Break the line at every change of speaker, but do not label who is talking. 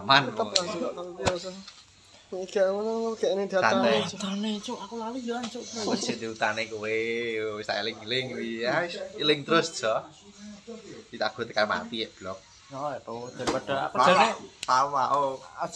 aman
tetep
pokoknya.
lah Cuk, kalau biasa ini kayak mana kayak ini
Tanda.
datang datang cuk aku lali ya cuk
wis diutane kowe wis tak eling-eling kuwi ya wis eling terus jo ditaguh tekan mati ya blok
No, itu Oh, daripada apa
Parah.
jane
Parah, oh
aja